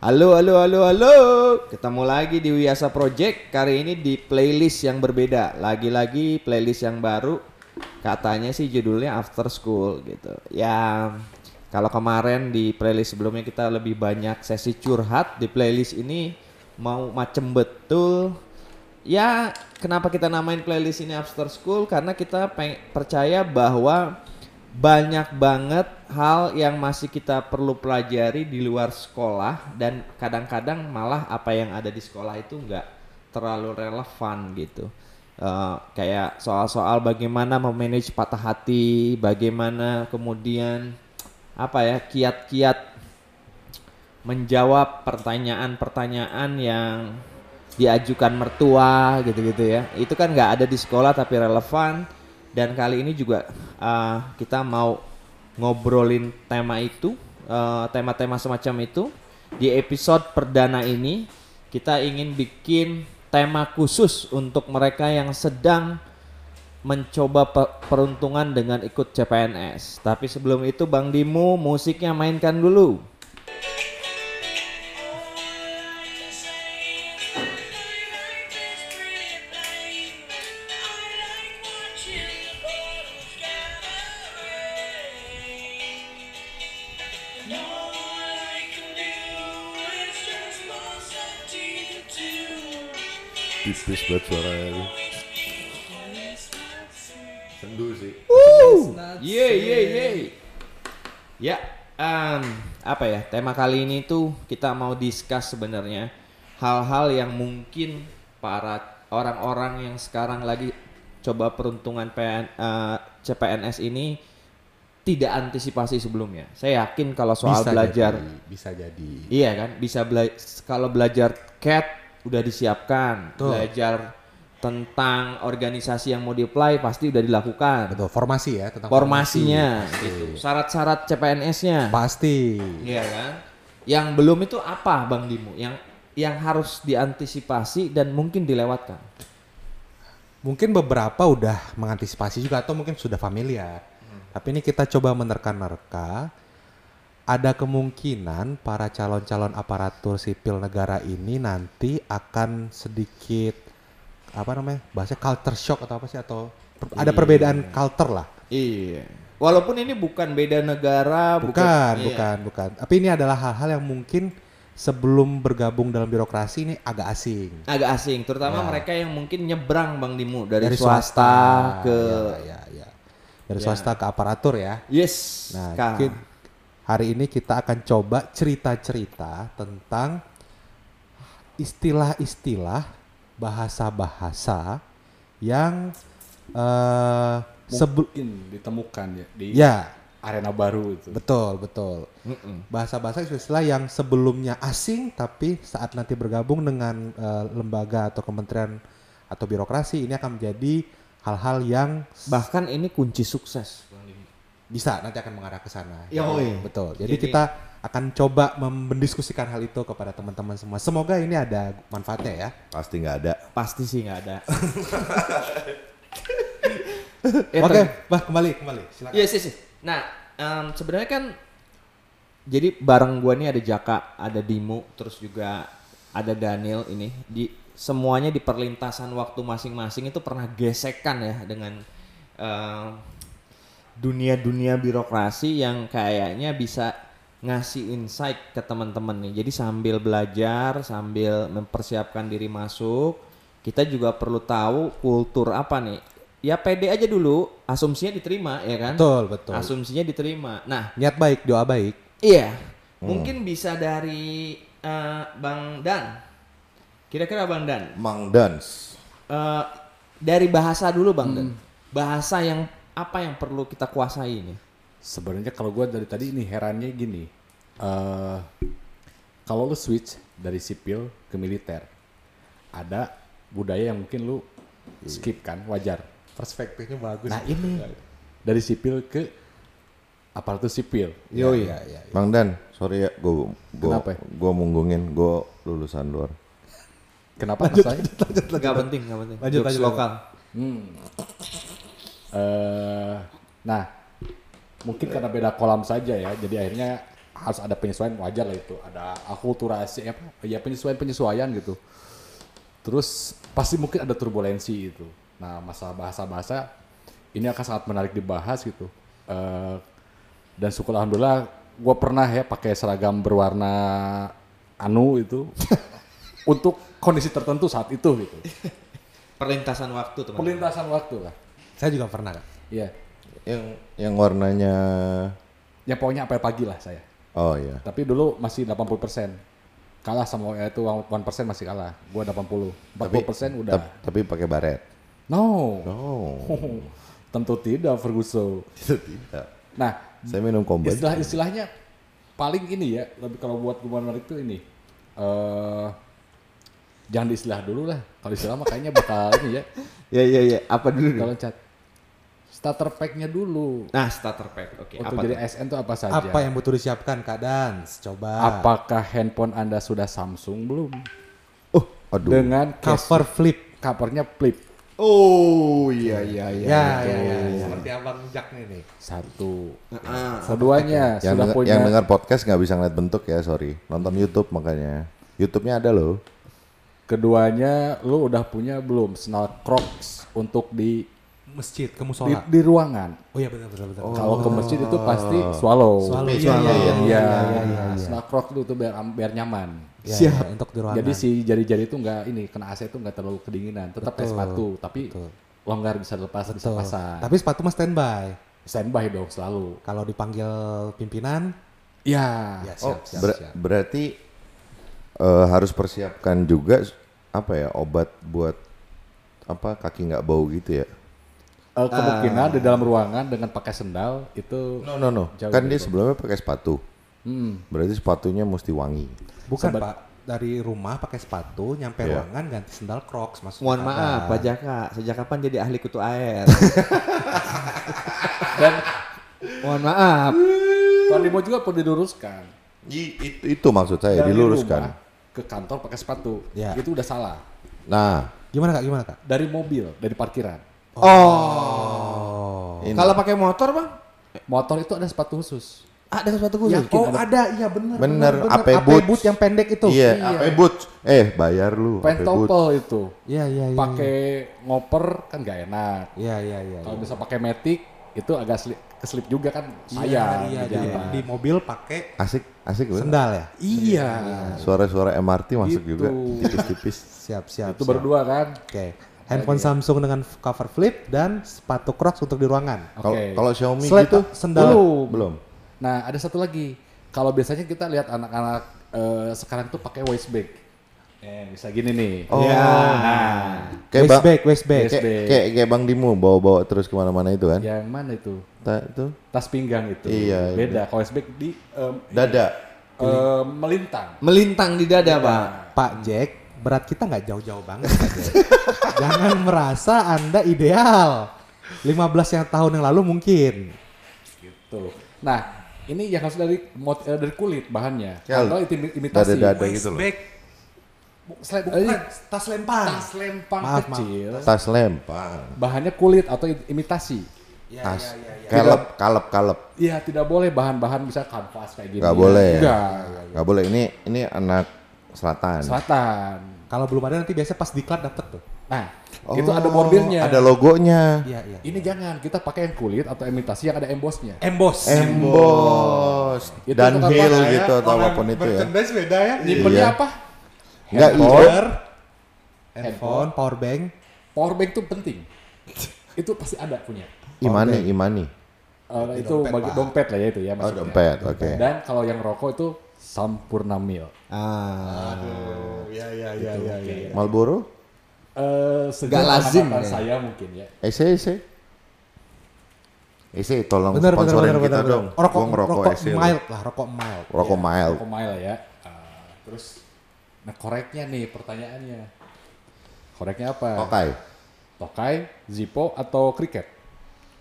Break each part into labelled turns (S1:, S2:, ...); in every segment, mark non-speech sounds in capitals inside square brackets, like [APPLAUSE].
S1: Halo, halo, halo, halo. Ketemu lagi di Wiasa Project. Kali ini di playlist yang berbeda. Lagi-lagi playlist yang baru. Katanya sih judulnya After School gitu. Ya, kalau kemarin di playlist sebelumnya kita lebih banyak sesi curhat. Di playlist ini mau macem betul. Ya, kenapa kita namain playlist ini After School? Karena kita peng- percaya bahwa banyak banget hal yang masih kita perlu pelajari di luar sekolah dan kadang-kadang malah apa yang ada di sekolah itu nggak terlalu relevan gitu Eh, kayak soal-soal bagaimana memanage patah hati bagaimana kemudian apa ya kiat-kiat menjawab pertanyaan-pertanyaan yang diajukan mertua gitu-gitu ya. Itu kan nggak ada di sekolah tapi relevan. Dan kali ini juga uh, kita mau ngobrolin tema itu, uh, tema-tema semacam itu di episode perdana ini kita ingin bikin tema khusus untuk mereka yang sedang mencoba pe- peruntungan dengan ikut CPNS. Tapi sebelum itu Bang Dimu musiknya mainkan dulu.
S2: tipis banget suaranya itu sendu sih
S1: Woo! Yeay, yeay, yeay. Ya, em, apa ya? Tema kali ini tuh kita mau discuss sebenarnya hal-hal yang mungkin para orang-orang yang sekarang lagi coba peruntungan PN, eh, CPNS ini tidak antisipasi sebelumnya. Saya yakin kalau soal
S2: gitu.
S1: belajar
S2: jadi, bisa jadi
S1: Iya kan, bisa bela- kalau belajar CAT udah disiapkan,
S2: Betul.
S1: belajar tentang organisasi yang mau di-apply pasti udah dilakukan.
S2: betul formasi ya tentang
S1: Formasinya
S2: formasi.
S1: gitu, syarat-syarat CPNS-nya.
S2: pasti
S1: Iya kan? Yang belum itu apa Bang Dimu? Yang yang harus diantisipasi dan mungkin dilewatkan.
S2: mungkin beberapa udah mengantisipasi juga atau mungkin sudah familiar
S1: Hmm.
S2: tapi ini kita coba menerka-nerka ada kemungkinan para calon-calon aparatur sipil negara ini nanti akan sedikit apa namanya bahasa culture shock atau apa sih atau per- ada perbedaan culture lah
S1: Iya. Walaupun ini bukan beda negara,
S2: Bukan,
S1: iya.
S2: bukan, bukan. Tapi ini adalah hal-hal yang mungkin sebelum bergabung dalam birokrasi ini agak asing.
S1: agak asing, terutama mereka yang mungkin nyebrang Bang Dimu dari, swasta ke
S2: ya, ya, ya. dari swasta ke aparatur ya.
S1: Yes.
S2: Nah,
S1: Kak.
S2: mungkin hari ini kita akan coba cerita-cerita tentang istilah-istilah bahasa-bahasa yang eh sebelum
S3: mungkin ditemukan ya di
S2: ya
S3: arena baru itu.
S2: betul betul
S1: Mm-mm.
S2: bahasa-bahasa istilah yang sebelumnya asing tapi saat nanti bergabung dengan eh, lembaga atau kementerian atau birokrasi ini akan menjadi hal-hal yang s-
S1: Bahkan ini kunci sukses.
S2: bisa nanti akan mengarah ke sana.
S1: Yoi.
S2: betul. Jadi,
S1: Jadi-
S2: kita akan coba mem- mendiskusikan hal itu kepada teman-teman semua. Semoga ini ada manfaatnya ya.
S4: Pasti nggak ada.
S1: Pasti sih nggak ada. Ya,
S2: Oke,
S1: ter-
S2: bah kembali kembali. Silakan.
S1: Yes, yes, yes. Nah, em, sebenarnya kan jadi bareng gua nih ada Jaka, ada Dimu, terus juga ada Daniel ini di semuanya di perlintasan waktu masing-masing itu pernah gesekan ya dengan em, dunia-dunia birokrasi yang kayaknya bisa ngasih insight ke teman-teman nih. Jadi sambil belajar, sambil mempersiapkan diri masuk, kita juga perlu tahu kultur apa nih. Ya pede aja dulu, asumsinya diterima ya kan?
S2: Betul, betul.
S1: Asumsinya diterima. Nah,
S2: Niat baik, doa baik.
S1: iya.
S2: Hmm.
S1: Mungkin bisa dari eh, Bang Dan. Kira-kira Bang Dan
S4: Mang Dans.
S1: Eh, dari bahasa dulu Bang Dan. Bahasa yang apa yang perlu kita kuasai nih?
S3: Sebenarnya kalau gua dari tadi ini herannya gini. eh kalau lu switch dari sipil ke militer, ada budaya yang mungkin lu
S4: Iya.
S3: skip kan, wajar.
S2: Perspektifnya bagus.
S3: Nah ini dari sipil ke aparatur sipil.
S2: yo ya, ya, ya.
S4: Mang Dan, sorry ya, gue gua,
S3: Kenapa?
S4: gua munggungin, gue lulusan luar.
S3: Kenapa masalahnya?
S1: Gak penting, gak penting.
S2: Lanjut,
S1: Jokes
S2: lanjut,
S1: lokal.
S3: eh nah, mungkin karena beda kolam saja ya, jadi akhirnya harus ada penyesuaian wajar lah itu ada akulturasi apa ya penyesuaian penyesuaian gitu terus pasti mungkin ada turbulensi itu nah masalah bahasa bahasa ini akan sangat menarik dibahas gitu Eh, dan syukur alhamdulillah gue pernah ya pakai seragam berwarna anu itu untuk kondisi tertentu saat itu gitu
S1: Perlintasan waktu teman.
S3: pelintasan waktu lah
S2: Saya juga pernah Kak.
S3: iya
S4: Yang yang warnanya
S3: ya pokoknya apel pagi lah saya
S4: oh ya.
S3: Tapi dulu masih 80%. Kalah sama WA itu 1% masih kalah. Gua 80. 40% udah.
S4: tap- tapi pakai baret.
S3: no.
S4: Oh,
S3: [LAUGHS] Tentu tidak Ferguson.
S4: itu tidak.
S3: Nah,
S4: Saya minum kombat.
S3: istilah-istilahnya paling ini ya, lebih kalau buat gua menarik itu ini. eh jangan diistilah dulu lah. Kalau istilah mah kayaknya bakal ini ya.
S1: [LAUGHS] Ya ya ya, apa dulu? dong?
S3: Kalau cat starter pack-nya dulu.
S1: Nah, starter pack. Oke,
S3: Untuk
S1: apa
S3: jadi
S1: tuh? ya?
S3: ASN itu apa saja?
S2: Apa yang butuh disiapkan Kak Dans? Coba.
S3: Apakah handphone Anda sudah Samsung belum?
S4: Oh, aduh.
S3: Dengan case
S2: Cover flip.
S3: covernya flip
S1: Oh, iya iya iya.
S2: Ya, ya, ya, Seperti abang Jack nih nih.
S3: satu
S1: Heeh.
S3: keduanya
S4: yang
S3: sudah
S4: dengar,
S3: punya
S4: yang dengar podcast nggak bisa ngeliat bentuk ya, sorry. Nonton YouTube makanya. YouTube-nya ada loh.
S3: keduanya lu udah punya belum senal crocs untuk di
S2: Masjid ke
S3: di,
S2: musola.
S3: di ruangan
S2: Oh iya benar benar benar.
S3: kalau ke masjid itu pasti swallow
S2: Swallow,
S4: Iya,
S2: swallow.
S4: iya,
S3: ya senal crocs itu tuh biar biar nyaman
S2: Ya, ya, untuk di iya. ruangan.
S3: jadi si jari-jari itu nggak ini kena AC itu nggak terlalu kedinginan tetap kayak sepatu tapi longgar bisa lepas bisa
S2: Betul.
S3: pasang
S2: Tapi sepatu mah standby.
S3: standby dong selalu
S2: Kalau dipanggil pimpinan,
S3: ya
S2: ya siap, siap,
S4: Ber-
S2: siap.
S4: Berarti eh, harus persiapkan juga s- apa ya obat buat apa kaki nggak bau gitu ya?
S3: Eh, kemungkinan di dalam ruangan dengan pakai sendal itu
S4: No no no.
S3: Jauh
S4: kan
S3: dari
S4: dia sebelumnya pakai sepatu.
S3: Hmm.
S4: Berarti sepatunya mesti wangi.
S2: Bukan Pak, dari rumah pakai sepatu, nyampe
S4: Iya.
S2: ruangan ganti sendal Crocs maksudnya.
S1: Mohon
S2: Kak
S1: maaf,
S2: Dan.
S1: Pak Jaka. Sejak kapan jadi ahli kutu
S2: [LAUGHS]
S1: air?
S3: dan
S1: Mohon maaf.
S3: Pandemo juga perlu diluruskan.
S4: I- itu, itu maksud saya
S3: Dari
S4: Eh, diluruskan.
S3: rumah ke kantor pakai sepatu.
S2: Ya.
S3: Itu udah salah.
S4: Nah,
S2: Gimana Kak? Gimana Kak?
S3: Dari mobil, dari parkiran.
S1: Oh.
S4: Ini.
S1: Kalau pakai motor, Bang?
S3: Motor itu ada sepatu khusus.
S1: Ada sepatu khusus.
S3: Yakin ada-
S2: iya benar.
S4: Bener, AP
S2: boot.
S4: boots.
S2: yang pendek itu.
S4: iya, apa boots? Eh, bayar lu. apa boots?
S3: Pentopel itu.
S2: Iya, iya, iya.
S3: Pakai ngoper kan gak enak.
S2: Iya, iya, iya.
S3: Kalau bisa pakai matic itu agak sli- keslip juga kan ya.
S2: Iya,
S3: saya
S2: iya, iya. Di mobil pakai
S4: Asik, asik bener.
S2: sendal ya?
S3: Iya.
S4: Suara-suara MRT masuk
S3: Gitu.
S4: juga tipis-tipis.
S2: Siap, siap.
S3: Itu
S2: siap.
S3: berdua kan.
S2: Oke. Handphone
S4: ya.
S2: Samsung dengan cover flip dan sepatu Crocs untuk di ruangan.
S4: Kalau
S3: Oke.
S4: kalau Xiaomi
S2: Slide,
S4: gitu
S2: Pak, sendal.
S4: belum. belum.
S3: Nah, ada satu lagi. Kalau biasanya kita lihat anak-anak eh, sekarang tuh pakai waist bag. Eh, bisa gini nih.
S4: Oh.
S1: Ya.
S3: Iya.
S4: Kayak
S2: waist
S4: bang,
S2: bag, waist bag.
S4: kayak, kayak, kayak Bang Dimu bawa-bawa terus kemana-mana itu kan?
S3: Yang mana itu?
S4: Ta- itu
S3: tas pinggang itu
S4: Iya,
S3: beda kalau westback di em,
S4: dada.
S3: em, melintang
S1: Melintang di dada, Bang.
S2: Pak Jack, berat kita nggak jauh-jauh banget. Pak Jack. [LAUGHS] Jangan merasa Anda ideal. 15 yang tahun yang lalu mungkin.
S3: gitu nah ini yang harus dari mod- eh, dari kulit bahannya
S4: Ya,
S3: atau iti- imitasi
S4: Dada-dada gitu
S2: Waist
S4: loh.
S2: bag,
S3: Selain-
S4: Iya.
S3: eh,
S2: tas lempar.
S4: ah,
S3: tas lempang
S2: Maaf, maaf.
S3: kecil
S4: Tas lempang.
S3: bahannya kulit atau i- imitasi
S4: Tas. Kalep, kalep, kalep.
S3: Iya tidak boleh bahan-bahan bisa kanvas kayak gini
S4: Gak boleh. ya?
S3: Enggak.
S4: Gak boleh. Ini ini anak selatan.
S3: selatan
S2: Kalau belum ada nanti biasanya pas diklat dapet tuh.
S3: nah
S4: Oh,
S3: itu ada bordirnya
S4: Ada logonya.
S2: Iya, iya.
S3: ini jangan kita pakai yang kulit atau imitasi yang ada embossnya
S4: Iya.
S2: Emboss.
S4: Emboss
S3: Itu
S4: dan
S3: tukang
S4: heel
S3: warna ya,
S4: gitu atau apapun itu ya.
S2: Merchandise beda ya.
S3: nyimpennya
S4: Iya.
S3: apa
S4: Enggak, iya.
S2: Power, handphone, power bank.
S3: power bank itu penting [LAUGHS] itu pasti ada punya
S4: Imani, imani.
S3: Eh, itu bagi dompet lah ya itu ya
S4: Oh,
S3: maksudnya.
S4: dompet. Oke.
S3: Dan kalau yang rokok itu sampurna mil.
S1: Ah.
S2: Ya, Gitu.
S4: Marlboro?
S3: Eh
S1: Nggak
S3: sejak
S1: lazim
S3: pengamatan
S1: ya.
S3: saya mungkin ya.
S4: Ese, ese. Ese, tolong
S2: Bener, bener,
S4: sponsorin
S2: bener,
S4: kita
S2: bener.
S4: dong.
S2: Oh, Rokok,
S4: Gua ngerokok ya,
S2: rokok
S4: ese. lu.
S2: mild lah, rokok mild.
S4: Rokok mild.
S3: Rokok mile ya. Eh, terus nah koreknya nih pertanyaannya. Koreknya apa?
S4: Tokai.
S3: Tokai, Zippo atau kriket?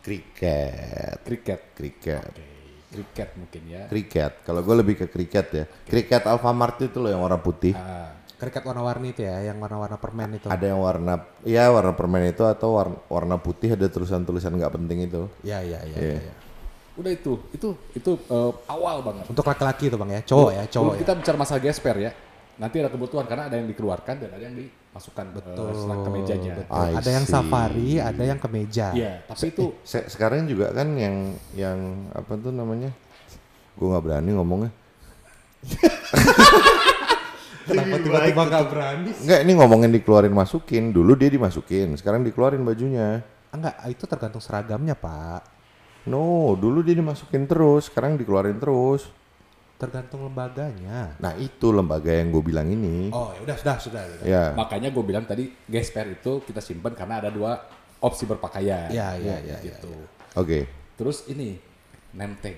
S4: Kriket.
S3: Kriket.
S4: Kriket.
S3: Oke, kriket Eh, mungkin ya.
S4: Kriket. Kalau gue lebih ke kriket ya. Kriket Alfamart itu loh yang warna putih.
S3: Ah,
S2: Kriket warna-warni itu ya, yang warna-warna permen itu.
S4: Ada yang warna, ya warna permen itu atau warna, warna putih ada tulisan-tulisan nggak penting itu.
S2: Iya, iya, iya.
S4: Iya.
S2: iya.
S3: Udah itu, itu itu eh, awal banget.
S2: Untuk laki-laki itu bang ya, cowok ya, cowok
S3: Belum
S2: ya.
S3: kita bicara masalah gesper ya. Nanti ada kebutuhan karena ada yang dikeluarkan dan ada yang dimasukkan betul
S2: Betul,
S3: selang ke mejanya.
S2: betul.
S4: I
S2: Ada yang
S4: see.
S2: safari, ada yang ke meja.
S3: Iya, tapi
S2: [LAUGHS]
S3: itu
S4: Se- sekarang juga kan yang yang apa tuh namanya? Gue nggak berani ngomongnya.
S2: Kenapa tiba-tiba nggak berani?
S4: Enggak, ini ngomongin dikeluarin masukin. Dulu dia dimasukin, sekarang dikeluarin bajunya.
S2: Enggak, itu tergantung seragamnya pak.
S4: No, dulu dia dimasukin terus, sekarang dikeluarin terus.
S2: Tergantung lembaganya.
S4: Nah itu lembaga yang gue bilang ini.
S2: Oh ya udah sudah sudah. sudah.
S4: Ya,
S3: makanya gue bilang tadi gesper itu kita simpan karena ada dua opsi berpakaian.
S2: Iya, iya, iya,
S3: Gitu.
S4: oke.
S3: Terus ini name tag.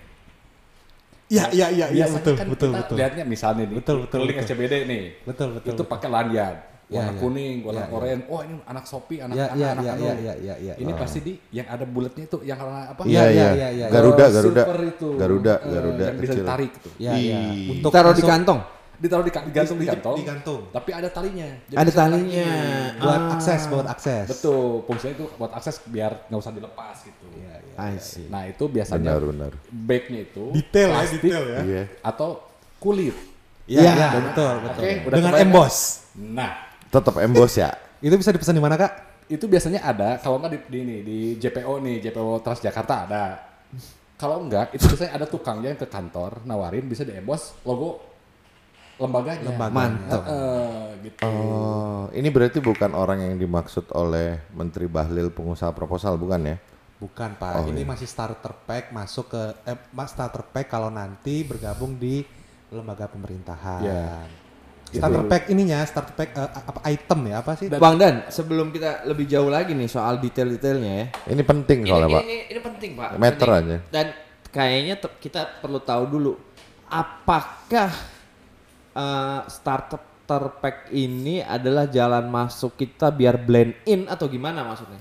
S2: Iya iya iya iya
S3: Biasanya
S2: betul
S3: kan
S2: betul
S3: kita
S2: betul.
S3: lihatnya misalnya nih,
S2: Betul, betul,
S3: keliling
S2: betul.
S3: SCBD nih.
S2: Betul, betul,
S3: Itu
S2: betul.
S3: pakai lanyard, warna
S2: Ya, ya.
S3: kuning, warna
S2: Ya, ya.
S3: oranye. Oh, ini anak Shopee, anak
S2: Ya,
S3: anak
S2: ya,
S3: anak
S2: ya,
S3: anu.
S2: ya, ya, ya, ya.
S3: Ini pasti di yang ada bulatnya itu yang warna apa?
S4: Iya
S2: Iya,
S4: iya.
S2: iya, iya, iya.
S4: Garuda
S3: Eh,
S4: Garuda.
S3: silver itu.
S4: Garuda
S3: Eh,
S4: Garuda
S3: yang bisa
S4: kecil.
S3: ditarik Ya, tuh.
S2: Iya iya.
S4: Ih.
S2: Untuk
S1: Taruh di
S2: masuk-
S1: kantong.
S3: Ditaruh di digantung di
S2: Di-
S3: kantong.
S2: digantung.
S3: Tapi ada talinya. Jadi
S1: Ada
S3: bisa tarik.
S1: talinya.
S2: buat
S1: Ah,
S2: akses buat akses.
S3: Betul, fungsinya itu buat akses biar nggak usah dilepas gitu.
S2: Iya,
S1: I see.
S3: Nah, itu biasanya
S4: Benar benar.
S3: bagnya itu
S2: Detail ya
S3: plastik
S2: detail ya.
S4: Iya.
S3: atau kulit.
S2: Iya
S1: Ya.
S2: iya, betul betul.
S3: Oke, udah
S2: Dengan
S3: kebayang.
S2: emboss.
S3: Nah,
S4: Tetap emboss ya.
S2: Itu bisa dipesan di mana kak?
S3: itu biasanya ada kalau nggak di, di ini di JPO nih JPO Transjakarta ada kalau nggak itu biasanya ada tukangnya yang ke kantor nawarin bisa di emboss logo lembaganya
S2: Lembaga.
S1: Mantap.
S3: Heeh, gitu
S4: Oh, ini berarti bukan orang yang dimaksud oleh Menteri Bahlil pengusaha proposal bukan ya?
S2: Bukan pak, ini masih starter pack masuk ke eh, mas- starter pack kalau nanti bergabung di lembaga pemerintahan. Gitu.
S3: Iya.
S2: Starter pack ininya, starter pack eh, apa item ya apa sih?
S1: Bang Dan, sebelum kita lebih jauh lagi nih soal detail-detailnya ya.
S4: Ini penting soalnya
S1: ini,
S4: pak.
S1: Ini, ini penting pak.
S4: Meter
S1: Penting.
S4: aja.
S1: Dan kayaknya te- kita perlu tahu dulu apakah eh, startup terpack ini adalah jalan masuk kita biar blend in atau gimana maksudnya?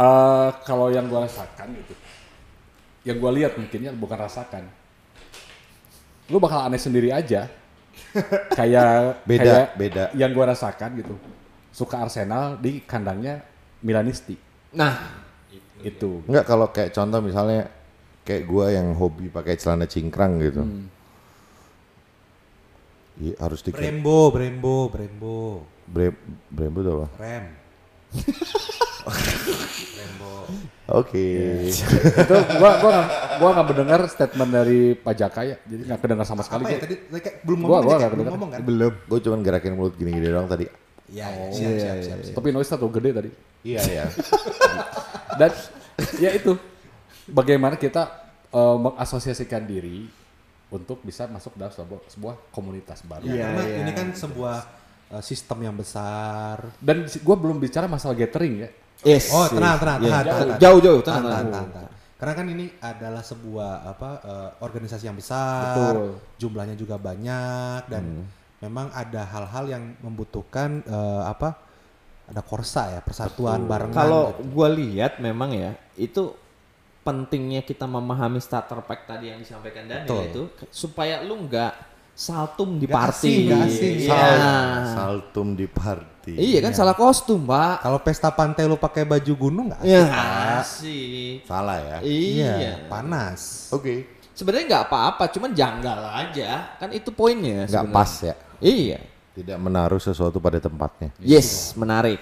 S3: Eh, kalau yang gua rasakan gitu yang gua lihat mungkinnya bukan rasakan lu bakal aneh sendiri aja kayak
S4: Beda,
S3: kayak
S4: beda.
S3: yang gua rasakan gitu suka Arsenal di kandangnya Milanisti
S1: Nah,
S3: itu
S4: Enggak kalau kayak contoh misalnya kayak gua yang hobi pakai celana cingkrang gitu.
S1: Hmm.
S4: Iya, harus di
S2: Brembo, Brembo, Brembo,
S4: Bre Brembo tuh apa?
S2: Rem.
S4: Oke. [LAUGHS]
S3: itu gua gua gak, gua gak mendengar statement dari Pak Jaka ya jadi gak kedengar sama sekali
S2: Apa ya
S3: gua.
S2: tadi tadi kayak belum
S3: Gua-
S2: ngomong,
S3: gua
S2: aja, kayak,
S3: nggak
S2: belum
S3: kedengeran.
S2: ngomong kan?
S4: Belum. Gue cuman gerakin mulut gini-gini doang tadi.
S2: Iya, iya, siap, siap, siap, siap.
S3: tapi noise tuh gede tadi
S4: Iya ya.
S3: dan ya itu bagaimana kita eh, mengasosiasikan diri untuk bisa masuk dalam sebuah, sebuah komunitas baru
S2: Ya, karena ini kan sebuah eh, sistem yang besar.
S3: dan si- gua belum bicara masalah gathering ya
S1: yes.
S2: Oh, tenang, tenang,
S1: Iya.
S2: tenang,
S1: Jauh,
S2: tenang.
S1: Jauh, jauh, tenang,
S2: Tahan,
S1: tenang.
S2: tahan, tahan, tahan. Karena kan ini adalah sebuah apa eh, organisasi yang besar,
S3: Betul.
S2: jumlahnya juga banyak dan
S1: Hmm.
S2: memang ada hal-hal yang membutuhkan eh, apa ada korsa ya persatuan barengan. gitu.
S1: Kalau gua lihat memang ya itu pentingnya kita memahami starter pack tadi yang disampaikan Daniel
S2: Betul.
S1: itu ke- supaya lu nggak saltum di
S2: Nggak
S1: party.
S2: asing, nggak asing.
S1: Iya.
S4: Sal- saltum di party.
S1: Iya kan salah kostum, Pak.
S2: kalau pesta pantai lu pakai baju gunung nggak?
S1: Ya,
S2: Pak?
S1: asik.
S4: Salah ya.
S1: Iya.
S2: panas.
S4: Oke.
S1: Sebenarnya nggak apa-apa, cuman janggal aja. Kan itu poinnya.
S4: Nggak
S1: sebenarnya.
S4: pas ya.
S1: Iya.
S4: Tidak menaruh sesuatu pada tempatnya.
S1: Yes, menarik.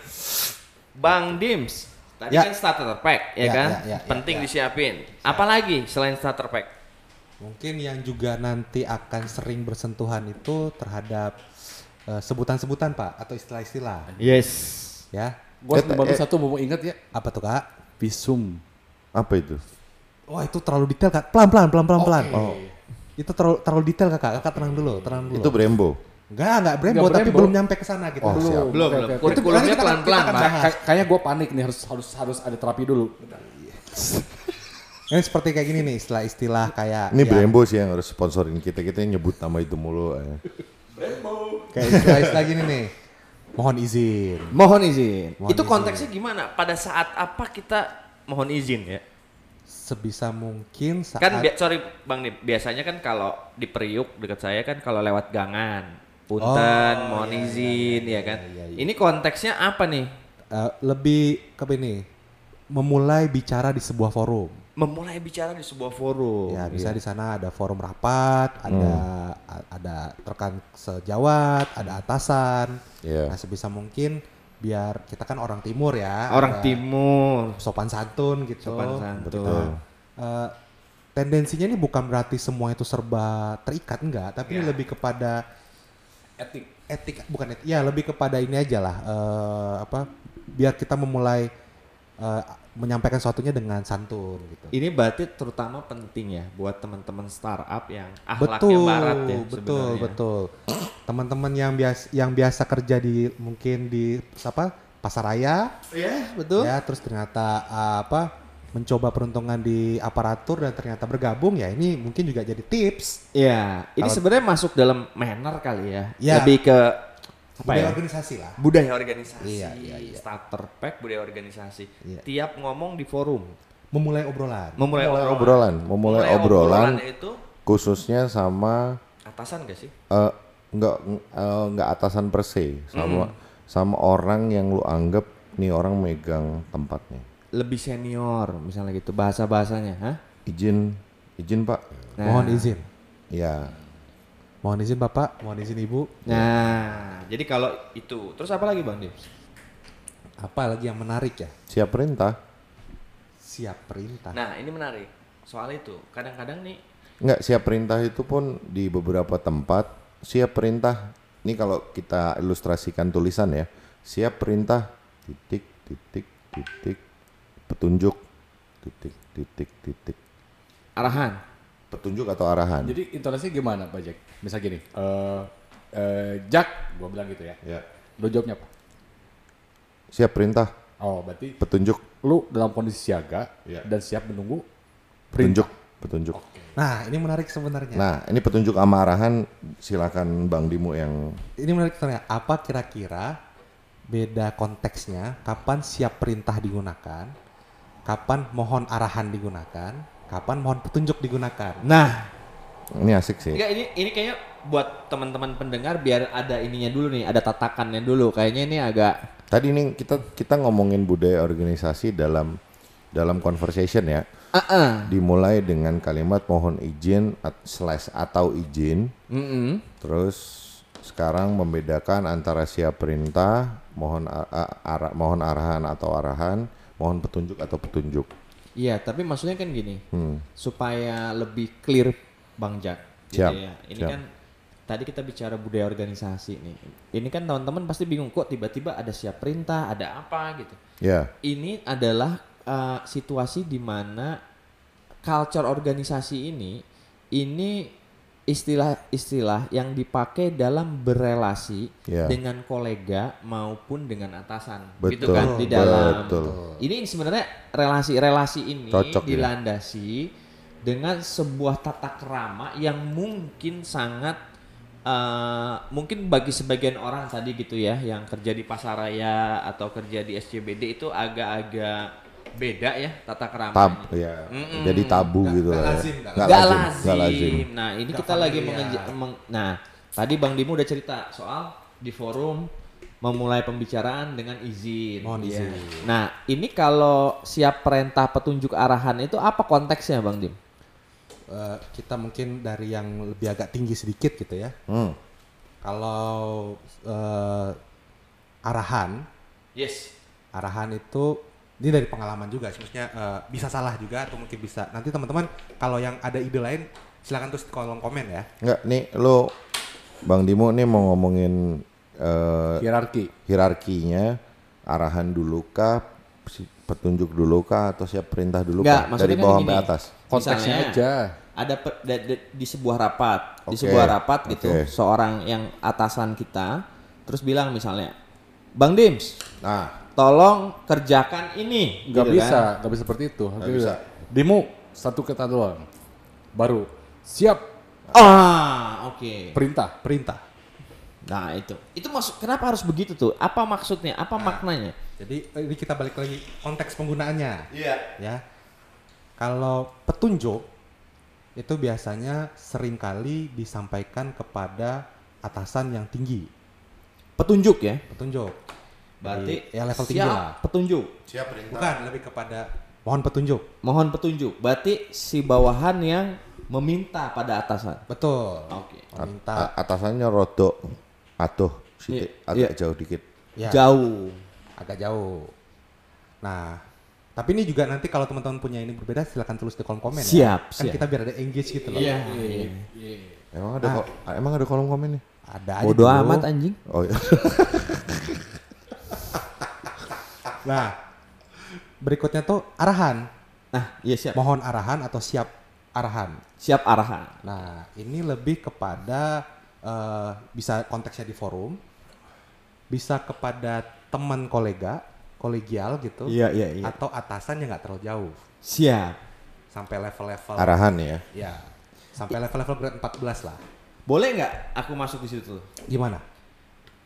S1: Bang Dims, tadi
S2: Ya.
S1: kan starter pack ya,
S2: Ya,
S1: kan?
S2: ya, ya, ya,
S1: Penting disiapin. Apalagi selain starter pack?
S2: Mungkin yang juga nanti akan sering bersentuhan itu terhadap eh, sebutan-sebutan pak atau istilah-istilah
S1: Yes.
S2: ya
S3: gua
S4: Eh,
S3: baru
S4: eh.
S3: satu mau ingat ya
S2: apa tuh kak?
S3: visum
S4: Apa itu?
S2: Wah itu terlalu detail kak. Pelan pelan pelan pelan pelan. Oh. Itu terlalu terlalu detail kakak. Kakak tenang dulu, tenang dulu.
S4: Itu Brembo.
S2: enggak enggak Brembo,
S3: Nggak
S2: tapi
S3: Brembo.
S2: belum nyampe ke sana gitu.
S4: Oh,
S1: Belum,
S4: siap.
S3: Oke,
S1: belum.
S3: oke, oke.
S1: Kurikulumnya
S2: Itu nanti kita akan-
S1: pelan-pelan,
S2: kita akan
S1: Pak.
S2: bahas.
S3: Kay- kayaknya gua panik nih harus harus harus ada terapi dulu
S2: Ini seperti kayak gini nih istilah-istilah kayak
S4: Ini
S2: ya,
S4: Brembo sih yang harus sponsorin kita. Kita yang nyebut nama itu mulu. eh.
S2: kayak istilah-istilah gini nih. Mohon izin.
S1: Mohon izin.
S2: Mohon
S1: itu
S2: izin.
S1: konteksnya gimana? Pada saat apa kita mohon izin ya?
S2: Sebisa mungkin saat
S1: Kan bi- sorry Bang Dim, biasanya kan kalau di Priuk dekat saya kan kalau lewat gangan, punten,
S2: Oh,
S1: mohon
S2: iya,
S1: izin ya kan. Ini konteksnya apa nih?
S2: eh, lebih ke ini memulai bicara di sebuah forum.
S1: memulai bicara di sebuah forum. gitu.
S2: Ya,
S1: Hmm.
S2: bisa di sana ada forum rapat, ada a- ada rekan sejawat,
S1: Hmm.
S2: ada atasan.
S4: Iya.
S2: Nah, sebisa mungkin biar kita kan orang timur ya.
S1: Orang
S2: ada
S1: timur.
S2: sopan santun gitu.
S1: Sopan santun.
S4: Betul.
S2: Eh, tendensinya ini bukan berarti semua itu serba terikat enggak, tapi
S1: Iya.
S2: lebih kepada
S3: Etik.
S2: etik bukan etik ya lebih kepada ini aja lah eh, apa biar kita memulai eh, menyampaikan sesuatunya dengan santun gitu
S1: Ini berarti terutama penting ya buat teman-teman startup yang akhlaknya
S2: betul
S1: barat ya
S2: betul
S1: sebenarnya.
S2: betul teman-teman yang biasa yang biasa kerja di mungkin di apa pasaraya
S1: Iya, betul.
S2: ya terus ternyata eh, apa mencoba peruntungan di aparatur dan ternyata bergabung ya ini mungkin juga jadi tips
S1: Iya, ini
S2: Kalau-
S1: sebenarnya masuk dalam manner kali ya.
S2: Iya.
S1: Lebih ke apa ya?
S2: budaya organisasi lah
S1: Budaya organisasi.
S2: Iya, iya, iya.
S1: Starter pack budaya organisasi.
S2: Iya.
S1: Tiap ngomong di forum,
S2: memulai obrolan
S1: memulai
S4: Memulai
S1: obrolan.
S4: obrolan, memulai obrolan
S1: itu
S4: khususnya sama
S1: atasan gak sih?
S4: eh, nggak eh, nggak atasan per se, sama sama orang yang lu anggap nih orang megang tempatnya.
S1: Lebih senior misalnya gitu bahasa-bahasanya, hah?
S4: Izin, izin pak.
S1: Nah.
S2: mohon izin
S4: Ya,
S2: mohon izin bapak mohon izin ibu
S1: Nah, jadi kalau itu, terus apa lagi Bang Dips?
S2: apa lagi yang menarik ya
S4: siap perintah.
S2: siap perintah
S1: Nah, ini menarik. Soal itu, kadang-kadang nih
S4: Nggak siap perintah itu pun di beberapa tempat siap perintah. Ini kalau kita ilustrasikan tulisan ya, siap perintah titik titik titik petunjuk titik titik titik
S1: arahan.
S4: petunjuk atau arahan.
S3: Jadi intonasinya gimana Pak Jack? Misal gini, eh eh, Jack, gua bilang gitu ya.
S4: ya.
S3: Lu jawabnya apa?
S4: Siap perintah
S3: Oh, berarti
S4: petunjuk
S3: lu dalam kondisi siaga
S4: Iya.
S3: dan siap menunggu
S4: petunjuk
S3: perintah.
S4: petunjuk.
S2: Nah, ini menarik sebenarnya.
S4: Nah, ini petunjuk sama arahan silakan Bang Dimu yang
S2: Ini menarik sebenarnya. Apa kira-kira beda konteksnya? Kapan siap perintah digunakan? Kapan mohon arahan digunakan? Kapan mohon petunjuk digunakan?
S1: Nah,
S4: ini asik
S3: Iya.
S4: sih.
S1: enggak ini ini kayaknya buat teman-teman pendengar biar ada ininya dulu nih, ada tatakannya dulu. Kayaknya ini agak
S4: Tadi ini kita kita ngomongin budaya organisasi dalam dalam conversation ya.
S1: ah ah.
S4: dimulai dengan kalimat mohon izin at- slash atau izin
S1: Mm-mm.
S4: terus sekarang membedakan antara siap perintah mohon a- a- ara- mohon arahan atau arahan mohon petunjuk atau petunjuk
S1: Iya, tapi maksudnya kan gini,
S4: Hmm.
S1: supaya lebih clear Bang Jack.
S4: Siap,
S1: ya. Ini
S4: siap.
S1: kan tadi kita bicara budaya organisasi nih. Ini kan teman-teman pasti bingung kok tiba-tiba ada siap perintah, ada apa gitu.
S4: ya
S1: ini adalah uh, situasi di mana culture organisasi ini ini istilah-istilah yang dipakai dalam berelasi
S4: Iya.
S1: dengan kolega maupun dengan atasan gitu
S4: betul
S1: kan di dalam
S4: betul
S1: ini sebenarnya relasi-relasi ini
S4: Cocok ya.
S1: dilandasi dengan sebuah tata kerama yang mungkin sangat eh, mungkin bagi sebagian orang tadi gitu ya yang kerja di pasaraya atau kerja di SCBD itu agak-agak beda ya tata
S4: tab
S1: keramanya.
S4: ya
S1: Mm-mm.
S4: jadi tabu
S2: Nggak-
S4: gitu
S2: nggak
S4: lah ya.
S2: lazim, nggak
S4: Nggak
S1: Gak
S4: lazim, nggak
S1: lazim.
S4: lazim.
S1: Nah ini
S2: Nggak
S1: kita lagi
S2: familiar.
S1: mengeja- meng- nah tadi Bang Dimu udah cerita soal di forum memulai pembicaraan dengan izin.
S2: Mohon
S1: Iya.
S2: izin.
S1: Nah ini kalau siap perintah petunjuk arahan itu apa konteksnya Bang Dim?
S2: Eh, kita mungkin dari yang lebih agak tinggi sedikit gitu ya.
S4: Hmm.
S2: Kalau eh, arahan,
S1: Yes.
S2: arahan itu ini dari pengalaman juga sih. maksudnya eh, bisa salah juga atau mungkin bisa. Nanti teman-teman kalau yang ada ide lain silakan tulis di kolom komen ya.
S4: nggak nih lo bang Dimo nih mau ngomongin eh,
S3: Hierarki.
S4: hierarkinya arahan dulu kah si- petunjuk dulu kah atau siap perintah dulu
S1: Nggak,
S4: kah
S1: maksudnya
S4: dari
S1: kan
S4: bawah
S1: gini.
S4: sampai atas
S1: Misalnya,
S3: Konteksnya aja.
S1: Ada per- da- da- di sebuah rapat, di
S4: Oke,
S1: sebuah rapat gitu
S4: oke.
S1: seorang yang atasan kita terus bilang misalnya, Bang Dims,
S4: nah
S1: tolong kerjakan ini.
S3: Gak
S1: gitu kan.
S3: bisa, gak bisa seperti itu. Gak
S4: bisa.
S3: Demo satu kata doang. Baru siap
S1: Ah, oke.
S3: perintah.
S2: Perintah.
S1: Nah itu, itu maksud kenapa harus begitu tuh? Apa maksudnya? Apa maknanya?
S2: Jadi eh, ini kita balik lagi konteks penggunaannya.
S4: iya
S2: ya. Kalau petunjuk itu biasanya seringkali disampaikan kepada atasan yang tinggi.
S1: Petunjuk ya.
S2: Petunjuk.
S1: Berarti
S2: Jadi, ya level
S1: siap
S2: tinggi lah.
S1: petunjuk.
S4: siap perintah
S2: Bukan lebih kepada Mohon petunjuk.
S1: Mohon petunjuk. Berarti si bawahan yang meminta pada atasan.
S2: Betul.
S1: Oke. Ah,
S2: Minta.
S4: A- atasannya rodok atuh sidik,
S1: Iya,
S4: agak jauh dikit.
S2: Ya.
S1: Jauh.
S2: agak jauh. Nah, tapi ini juga nanti kalau teman-teman punya ini berbeda silahkan tulis di kolom komen
S1: Siap,
S2: ya. Kan
S1: siap. Iya.
S2: kita biar ada engage gitu loh.
S4: Emang
S1: Ah.
S4: ada kok- ah, emang ada kolom komen nih?
S2: Ada aja.
S1: Bodoh
S2: bro.
S1: amat eh. anjing.
S4: Oh iya.
S2: Nah, berikutnya tuh arahan.
S1: Nah, iya siap.
S2: Mohon arahan atau siap arahan.
S1: Siap arahan.
S2: Nah, ini lebih kepada eh, bisa konteksnya di forum, bisa kepada teman kolega, kolegial gitu,
S1: Iya, iya, iya.
S2: atau atasan yang nggak terlalu jauh,
S1: Siap.
S2: sampai level-level
S4: Arahan ya.
S2: ya, sampai level-level grade 14 lah.
S1: Boleh nggak aku masuk di situ?
S2: Gimana?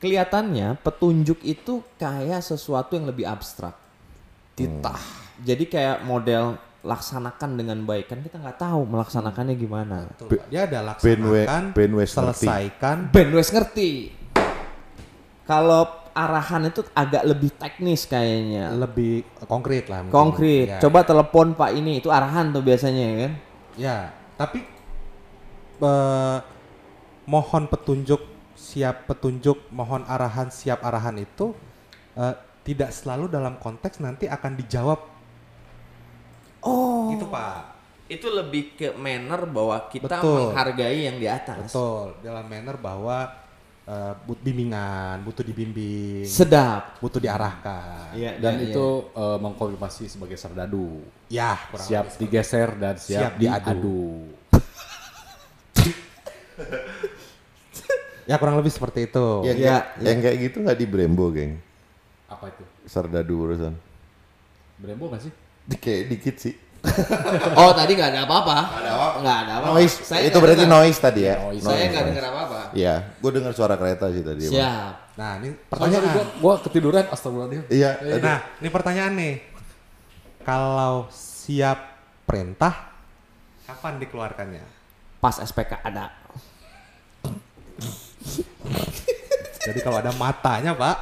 S1: Kelihatannya petunjuk itu kayak sesuatu yang lebih abstrak. Titah. Jadi kayak model laksanakan dengan baik kan kita nggak tahu melaksanakannya gimana.
S2: Betul, Pak. Dia ada
S4: Ben we-
S2: laksanakan,
S4: ben we
S2: selesaikan.
S1: Ben wes ngerti. Kalau arahan itu agak lebih teknis kayaknya.
S2: lebih konkret lah. mungkin.
S1: Konkret.
S2: Ya.
S1: Coba telepon Pak ini, itu arahan tuh biasanya ya kan.
S2: Ya, tapi eh, mohon petunjuk, siap petunjuk, mohon arahan, siap arahan itu eh, tidak selalu dalam konteks nanti akan dijawab. Oh. Gitu Pak.
S1: Itu lebih ke manner bahwa kita
S2: Betul.
S1: menghargai yang di atas.
S2: Betul. Dalam manner bahwa eh, but bimbingan, butuh dibimbing,
S1: Sedap.
S2: butuh diarahkan.
S1: Iya,
S3: Dan
S1: iya,
S3: itu eh, mengkonfirmasi sebagai serdadu.
S2: Ya, kurang
S3: siap digeser dan
S2: Siap
S3: siap,
S2: diadu.
S3: diadu.
S2: ya kurang lebih seperti itu.
S4: Yang,
S1: Iya,
S4: kayak- yang kayak gitu nggak di Brembo, geng.
S3: Apa itu?
S4: Serdadu urusan.
S3: Brembo nggak sih?
S4: Di- Kayak dikit sih.
S1: iya. Oh, tadi nggak ada apa-apa. Nggak ada apa-apa.
S4: Noise.
S1: Saya
S4: itu
S1: nggak
S4: berarti
S1: dengar.
S4: noise tadi ya.
S3: Noise.
S1: Saya nggak
S4: Noise, noise.
S1: dengar apa-apa.
S4: Iya, gue dengar suara kereta sih
S1: Iya,
S4: tadi. Bang.
S1: Siap.
S2: Nah, ini
S3: Soalnya
S2: pertanyaan.
S3: gua, gua ketiduran astagfirullahaladzim.
S4: Iya. aduh.
S2: Nah, ini pertanyaan nih. Kalau siap perintah, kapan dikeluarkannya?
S1: Pas SPK ada.
S2: Jadi kalau ada matanya, Pak,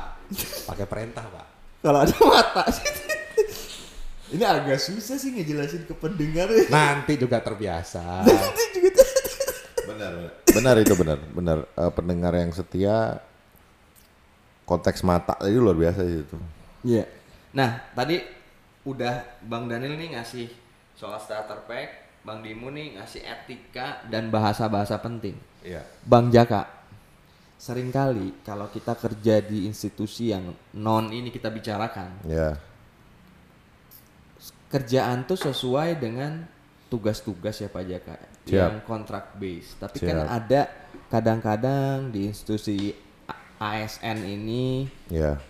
S2: pakai perintah, Pak.
S1: Kalau ada mata [LAUGHS] Ini agak susah sih ngejelasin ke pendengar.
S2: Nanti juga terbiasa.
S4: [LAUGHS] Benar, benar. Benar itu benar, benar. Eh, pendengar yang setia konteks mata itu luar biasa sih itu.
S1: Iya. Nah, tadi udah Bang Daniel nih ngasih soal starter pack, Bang Dimu nih ngasih etika dan bahasa-bahasa penting.
S4: Iya.
S1: Bang Jaka, seringkali kalau kita kerja di institusi yang non ini kita bicarakan,
S4: Ya.
S1: kerjaan tuh sesuai dengan tugas-tugas ya Pak Jaka
S4: Siap.
S1: yang kontrak base. Tapi kan
S4: Siap.
S1: ada kadang-kadang di institusi A- ASN ini
S4: Ya.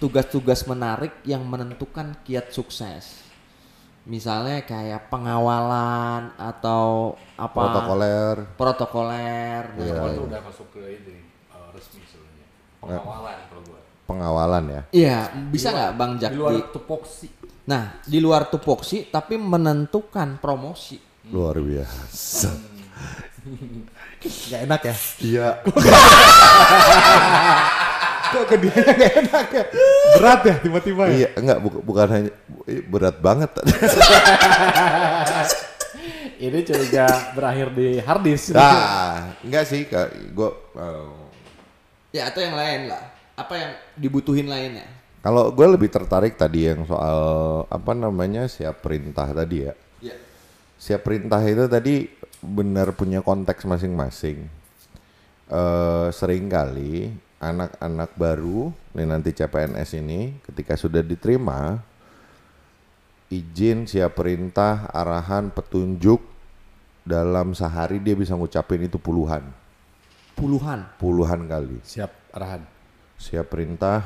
S1: tugas-tugas menarik yang menentukan kiat sukses. Misalnya kayak pengawalan atau apa
S4: Protokoler.
S1: protokoler. Nah,
S4: Iya.
S3: Itu udah masuk ke ini eh, resmi sebenarnya. Pengawalan kalau gua.
S4: Pengawalan ya.
S1: Iya, bisa nggak Bang Jack?
S3: Di luar
S1: Ya, di-
S3: tupoksi.
S1: nah, di luar tupoksi tapi menentukan promosi.
S4: Luar biasa.
S2: Gak enak ya? [LAUGHS]
S4: Iya.
S2: Kok ke dia gak enak ya? Berat ya tiba-tiba ya?
S4: Iya, enggak bukan, bukan hanya eh, berat banget.
S2: [LAUGHS]
S3: Ini curiga berakhir di harddisk.
S4: nah, enggak sih, Kak. Gua eh,
S1: Ya atau yang lain lah. Apa yang dibutuhin lainnya?
S4: kalau gue lebih tertarik tadi yang soal apa namanya siap perintah tadi ya.
S1: Ya.
S4: Siap perintah itu tadi benar punya konteks masing-masing. Eh seringkali anak-anak baru nih nanti CPNS ini ketika sudah diterima izin siap perintah arahan petunjuk dalam sehari dia bisa ngucapin itu puluhan
S1: Puluhan.
S4: puluhan kali
S3: Siap arahan.
S4: siap perintah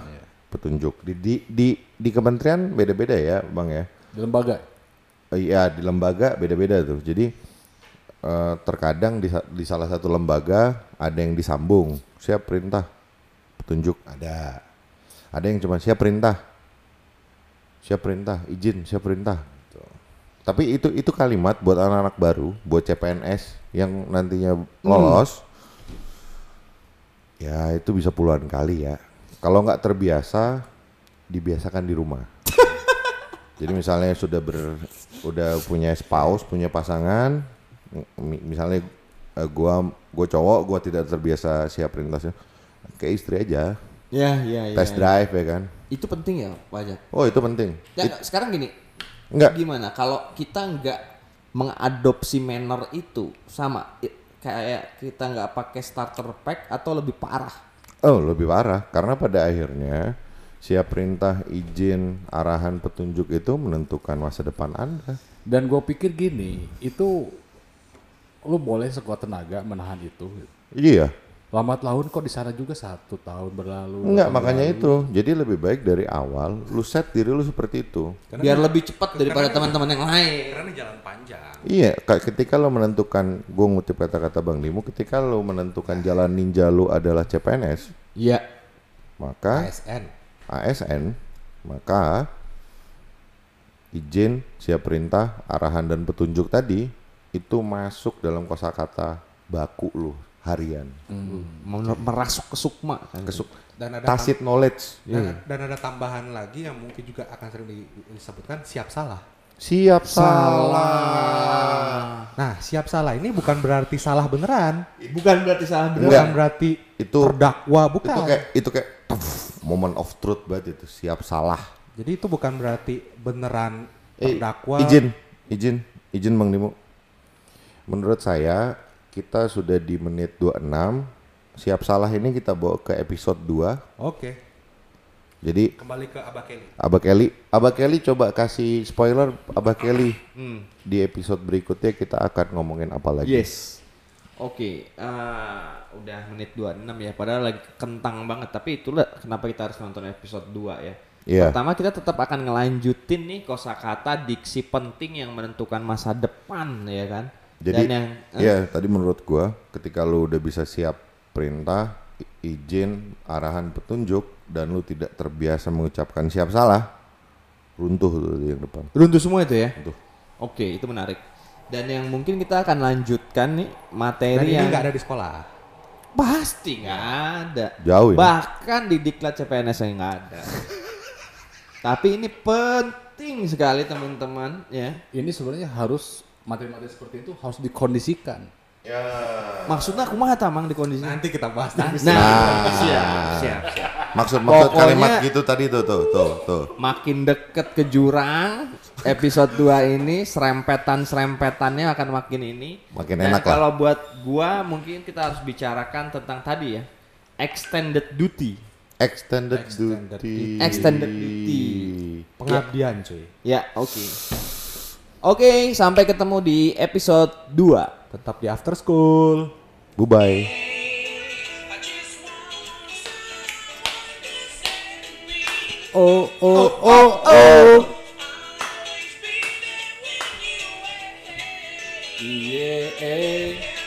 S4: petunjuk di di di, di kementerian beda-beda ya bang ya
S3: Di lembaga.
S4: Eh, Iya di lembaga beda-beda tuh. Jadi eh, terkadang di, sa- di salah satu lembaga ada yang disambung siap perintah petunjuk ada. Ada yang cuma siap perintah, siap perintah, izin siap perintah. gitu. Tapi itu itu kalimat buat anak-anak baru, buat CPNS yang nantinya lolos, ya itu bisa puluhan kali ya. Kalau nggak terbiasa, dibiasakan di rumah. Jadi misalnya sudah ber udah punya spouse, punya pasangan, mi- misalnya eh, gua gua cowok, gua tidak terbiasa siap lintasnya. Ke istri aja,
S1: Ya, ya, ya.
S4: test drive ya kan.
S1: Itu penting ya, Pak Ajat?
S4: Oh, itu penting.
S1: Ya, sekarang gini,
S4: Enggak.
S1: gimana kalau kita nggak mengadopsi manner itu sama i- kayak kita nggak pakai starter pack atau lebih parah?
S4: Oh, lebih parah karena pada akhirnya siap perintah, izin, arahan, petunjuk itu menentukan masa depan Anda.
S3: Dan gue pikir gini, itu lu boleh sekuat tenaga menahan itu.
S4: Iya.
S3: Lambat laun kok di sana juga satu tahun berlalu. dua
S4: Enggak,
S3: tahun
S4: makanya
S3: berlalu.
S4: itu. Jadi lebih baik dari awal lu set diri lu seperti itu.
S1: Biar lebih cepat daripada teman-teman yang lain.
S2: Karena ini jalan panjang.
S4: Iya, kayak ketika lo menentukan, gue ngutip kata-kata Bang Limo, ketika lo menentukan jalan ninja lo adalah CPNS,
S1: Iya.
S3: Ya,
S4: maka
S2: ASN.
S4: ASN, maka izin, siap perintah, arahan dan petunjuk tadi itu masuk dalam kosakata baku lo harian.
S1: Mener- Merasuk ke sukma. kan.
S4: Kesuk,
S2: Dan ada tam-
S4: tacit knowledge.
S2: dan, dan ada tambahan lagi yang mungkin juga akan sering di- disebutkan siap salah.
S4: Siap salah.
S2: Nah, siap salah ini bukan berarti salah beneran.
S1: Bukan berarti salah benar.
S4: Enggak.
S2: Bukan berarti
S4: Itu-
S2: terdakwa bukan.
S4: Itu kayak itu kayak tuff, moment of truth banget itu siap salah.
S2: Jadi itu bukan berarti beneran
S4: Eh,
S2: terdakwa.
S4: Izin, izin, izin Bang Dimo. Menurut saya kita sudah di menit 26. Siap salah ini kita bawa ke episode 2.
S2: Oke,
S4: Jadi
S2: kembali ke Abah Kelly.
S4: Abah Kelly, Abah Kelly coba kasih spoiler Abah Kelly. Di episode berikutnya kita akan ngomongin apa lagi.
S1: Hmm. Yes. Oke, eh, udah menit 26 ya. Padahal lagi kentang banget, tapi itulah kenapa kita harus nonton episode 2 ya.
S4: Iya.
S1: Pertama kita tetap akan ngelanjutin nih kosakata diksi penting yang menentukan masa depan ya kan.
S4: Jadi
S1: Dan yang eh,
S4: ya tadi menurut gua ketika lu udah bisa siap perintah, i- izin, arahan, petunjuk dan lu tidak terbiasa mengucapkan siap salah, runtuh tuh di yang depan.
S1: runtuh semua itu ya.
S4: Runtuh.
S1: Oke, itu menarik. Dan yang mungkin kita akan lanjutkan nih
S2: Dan
S1: materi
S2: ini
S4: Iya.
S1: yang
S2: nggak ada di sekolah.
S1: pasti nggak ada.
S4: Jauh ini.
S1: iya? Bahkan di diklat CPNS yang nggak ada. Tapi ini penting sekali teman-teman ya.
S3: Ini sebenarnya harus materi-materi seperti itu harus dikondisikan.
S1: Maksudnya aku mah tamang di Nah, kondisi. Nah,
S2: Nanti kita bahas. nanti.
S1: siap, siap, siap.
S4: Maksud-maksud
S1: Pokoknya-
S4: kalimat gitu tadi tuh tuh tuh tuh.
S1: Makin deket ke jurang, episode 2 ini serempetan-serempetannya akan makin ini.
S4: Makin
S1: Dan
S4: enak lah.
S1: kalau buat gua mungkin kita harus bicarakan tentang tadi ya. Extended duty.
S4: Extended,
S2: Extended
S4: duty.
S1: duty. Extended duty.
S2: Pengabdian cuy.
S1: Ya, oke. Oke, sampai ketemu di episode 2.
S2: Tetap di after school.
S4: Bye bye.
S2: Oh oh
S3: Iya. eh.